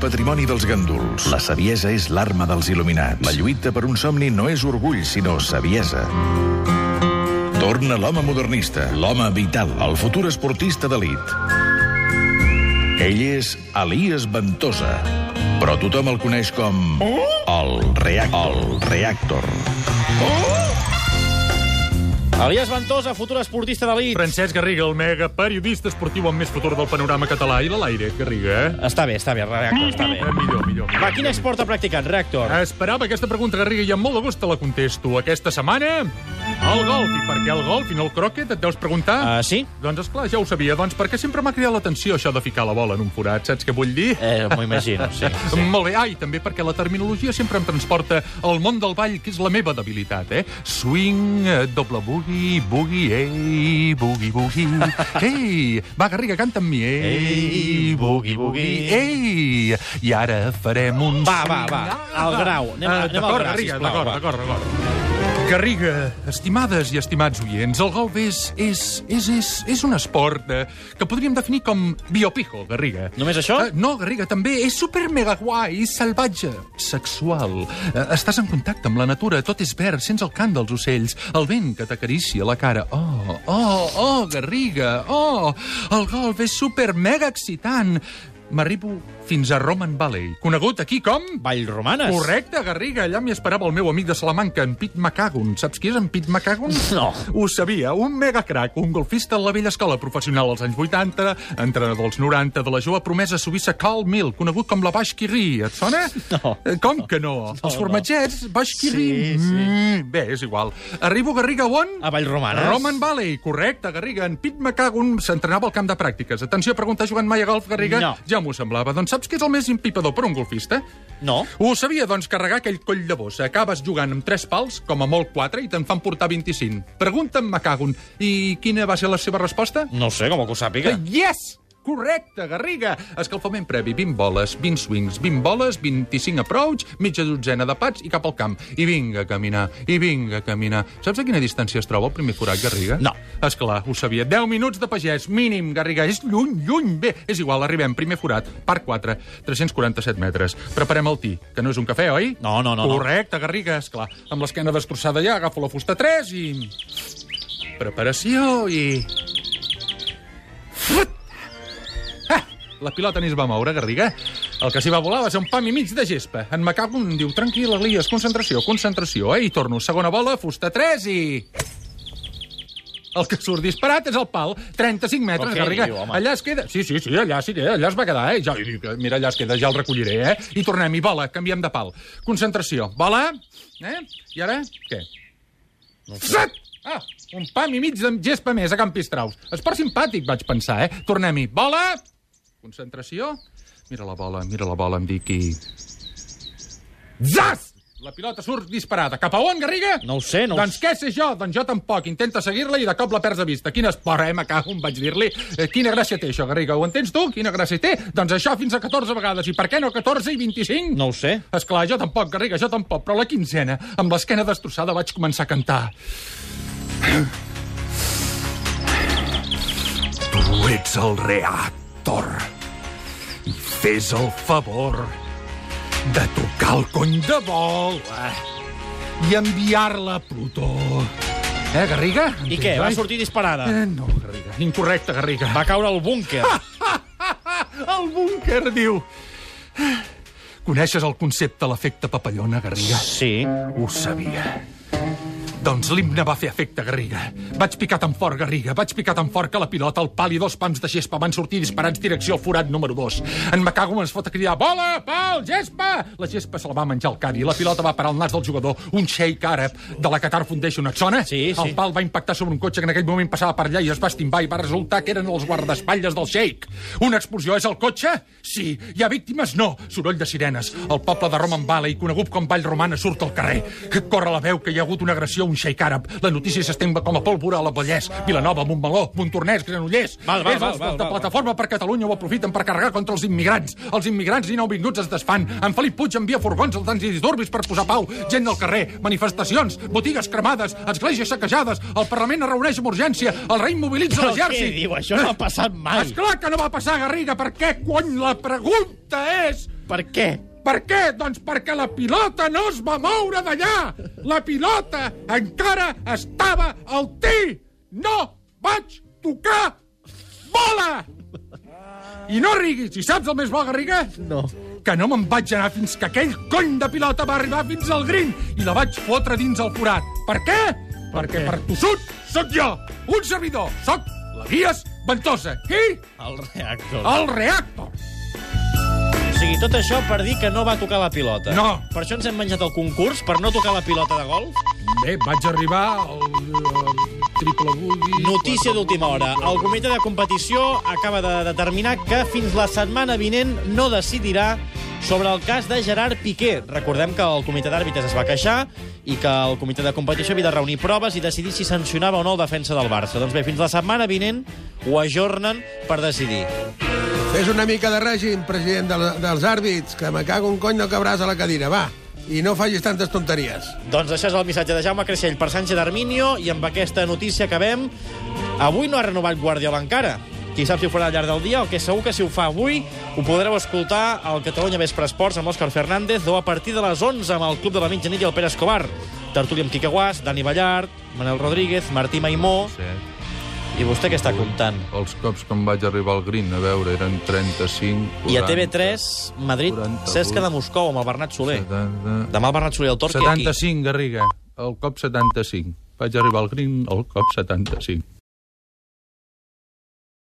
patrimoni dels gandúls. La saviesa és l'arma dels il·luminats. La lluita per un somni no és orgull, sinó saviesa. Torna l'home modernista, l'home vital, el futur esportista d'elit. Ell és Elias Ventosa, però tothom el coneix com... El Reactor. El Reactor. Elias Ventosa, futur esportista d'elit. Francesc Garriga, el mega periodista esportiu amb més futur del panorama català i la l'aire, Garriga, eh? Està bé, està bé, reactor, està Eh, bé. millor, millor. Va, quin esport ha practicat, Eh? reactor? Esperava aquesta pregunta, Garriga, i amb molt de gust te la contesto. Aquesta setmana, el golf. I per què el golf i no el croquet, et deus preguntar? Ah, sí? Doncs, esclar, ja ho sabia. Doncs perquè sempre m'ha cridat l'atenció això de ficar la bola en un forat. Saps què vull dir? Eh, m'ho imagino, sí. sí. Molt bé. Ah, i també perquè la terminologia sempre em transporta al món del ball, que és la meva debilitat, eh? Swing, eh, doble boogie, boogie, ei, boogie, boogie. Ei, va, Garriga, canta amb mi. Ei, Ei, boogie, boogie. Ei, i ara farem un... Va, va, va, al grau. Anem, a- Ah, anem al D'acord, grau, Garriga, sisplau. d'acord, va. d'acord, d'acord. Garriga, estimades i estimats oients, el golf és, és, és, és, és un esport eh, que podríem definir com biopijo, Garriga. Només això? Eh, no, Garriga, també és super mega guai, salvatge, sexual. Eh, estàs en contacte amb la natura, tot és verd, sents el cant dels ocells, el vent que t'acaricia la cara. Oh, oh, oh, Garriga, oh, el golf és super mega excitant. M'arribo fins a Roman Valley, conegut aquí com... Vallromanes. Correcte, Garriga. Allà m'hi esperava el meu amic de Salamanca, en Pete McCagon. Saps qui és en Pete McCagon? No. Ho sabia, un mega crack, un golfista de la vella escola professional als anys 80, entrenador als 90 de la jove promesa suïssa Carl Mill, conegut com la Bashkiri. Et sona? No. Eh, Com que no? no Els formatgets, Bashkiri... Sí, sí. Mm, bé, és igual. Arribo, Garriga, on? A Vallromanes. Roman Valley, correcte, Garriga. En Pete McCagon s'entrenava al camp de pràctiques. Atenció, pregunta, jugant mai a golf, Garriga? No. Ja m'ho semblava. Doncs saps què és el més impipador per un golfista? No. Ho sabia, doncs, carregar aquell coll de bossa. Acabes jugant amb tres pals, com a molt quatre, i te'n fan portar 25. Pregunta'm, Macagon, i quina va ser la seva resposta? No ho sé, com que ho sàpiga. Eh, Yes! Correcte, Garriga! Escalfament previ, 20 boles, 20 swings, 20 boles, 25 approach, mitja dotzena de pats i cap al camp. I vinga a caminar, i vinga a caminar. Saps a quina distància es troba el primer forat, Garriga? No. Esclar, ho sabia. 10 minuts de pagès, mínim, Garriga. És lluny, lluny. Bé, és igual, arribem. Primer forat, part 4, 347 metres. Preparem el ti, que no és un cafè, oi? No, no, no, no. Correcte, Garriga, esclar. Amb l'esquena destrossada ja, agafo la fusta 3 i... Preparació i... Ah, la pilota ni es va moure, Garriga. El que s'hi va volar va ser un pam i mig de gespa. En Macagun diu, tranquil, Elias, concentració, concentració, eh? I torno, segona bola, fusta 3 i... El que surt disparat és el pal. 35 metres, Però què Garriga. diu, home? allà es queda... Sí, sí, sí, allà sí, que- allà es va quedar, eh? Ja, i dic, mira, allà es queda, ja el recolliré, eh? I tornem, i bola, canviem de pal. Concentració, bola, eh? I ara, què? Set! Ah, un pam i mig de gespa més a Camp Pistraus. Esport simpàtic, vaig pensar, eh? Tornem-hi. Bola! Concentració. Mira la bola, mira la bola, em dic i... Zas! La pilota surt disparada. Cap a on, Garriga? No ho sé, no ho Doncs sé. què sé jo? Doncs jo tampoc. Intenta seguir-la i de cop la perds de vista. Quin esport, eh? Me cago, en vaig dir-li. Eh, quina gràcia té això, Garriga? Ho entens tu? Quina gràcia té? Doncs això fins a 14 vegades. I per què no 14 i 25? No ho sé. Esclar, jo tampoc, Garriga, jo tampoc, però a la quinzena, amb l'esquena destrossada, vaig començar a cantar. Tu ets el reactor. I fes el favor de tocar el cony de bola i enviar-la a Plutó. Eh, Garriga? I què? Va Entens, oi? sortir disparada. Eh, no, Garriga. Incorrecte, Garriga. Va caure al búnquer. El búnquer, diu. "Eh, Coneixes el concepte l'efecte papallona, Garriga? Sí. Ho sabia. Doncs l'himne va fer efecte, Garriga. Vaig picar tan fort, Garriga, vaig picar tan fort que la pilota, el pal i dos pams de gespa van sortir disparats direcció al forat número 2. En Macago ens fot a cridar, bola, pal, gespa! La gespa se la va menjar el cari, la pilota va parar al nas del jugador, un xeic àrab de la Qatar Foundation, et sona? Sí, sí. El pal va impactar sobre un cotxe que en aquell moment passava per allà i es va estimbar i va resultar que eren els guardaespatlles del xeic. Una explosió és el cotxe? Sí. Hi ha víctimes? No. Soroll de sirenes. El poble de Roman Valley, conegut com Vall Romana, surt al carrer. Corre la veu que hi ha hagut una agressió a un xeic àrab. La notícia s'estemba com a pólvora a la Vallès, Vilanova, Montmeló, Montornès, Granollers. Val, val, és val, val, de val. Plataforma per Catalunya ho aprofiten per carregar contra els immigrants. Els immigrants i nouvinguts es desfan. En Felip Puig envia furgons als antidisturbis per posar pau. Gent al carrer, manifestacions, botigues cremades, esglésies saquejades, el Parlament es reuneix amb urgència, el rei mobilitza Però què l'exèrcit. diu? Això no ha passat mai. Esclar que no va passar, Garriga, per què, cony, la pregunta és Per què? Per què? Doncs perquè la pilota no es va moure d'allà! La pilota encara estava al tí! No vaig tocar bola! I no riguis, i saps el més bo, Garriga? No. Que no me'n vaig anar fins que aquell cony de pilota va arribar fins al green i la vaig fotre dins el forat. Per què? Perquè per tossut sóc jo, un servidor, sóc l'Elias Ventosa. Qui? El reactor. El reactor. O sigui, tot això per dir que no va tocar la pilota. No. Per això ens hem menjat el concurs, per no tocar la pilota de golf. Bé, vaig arribar al, al triple bugui... Notícia d'última hora. El comitè de competició acaba de determinar que fins la setmana vinent no decidirà sobre el cas de Gerard Piqué. Recordem que el comitè d'àrbitres es va queixar i que el comitè de competició havia de reunir proves i decidir si sancionava o no el defensa del Barça. Doncs bé, fins la setmana vinent ho ajornen per decidir. Fes una mica de règim, president del, dels àrbits, que me cago un cony no cabràs a la cadira, va. I no facis tantes tonteries. Doncs això és el missatge de Jaume Creixell per Sánchez d'Arminio i amb aquesta notícia acabem. Avui no ha renovat Guardiola encara. Qui sap si ho farà al llarg del dia, el que és segur que si ho fa avui ho podreu escoltar al Catalunya Vespre Esports amb l'Òscar Fernández o a partir de les 11 amb el Club de la Mitjanit i el Pere Escobar. Tertúlia amb Quique Guas, Dani Ballart, Manel Rodríguez, Martí Maimó... I vostè què està comptant? Els cops que em vaig arribar al Green, a veure, eren 35, 40... I a TV3, Madrid, 48. Cesca de Moscou amb el Bernat Soler. 70... Demà el Bernat Soler i el Torqui aquí. 75, Garriga. El cop 75. Vaig arribar al Green, el cop 75.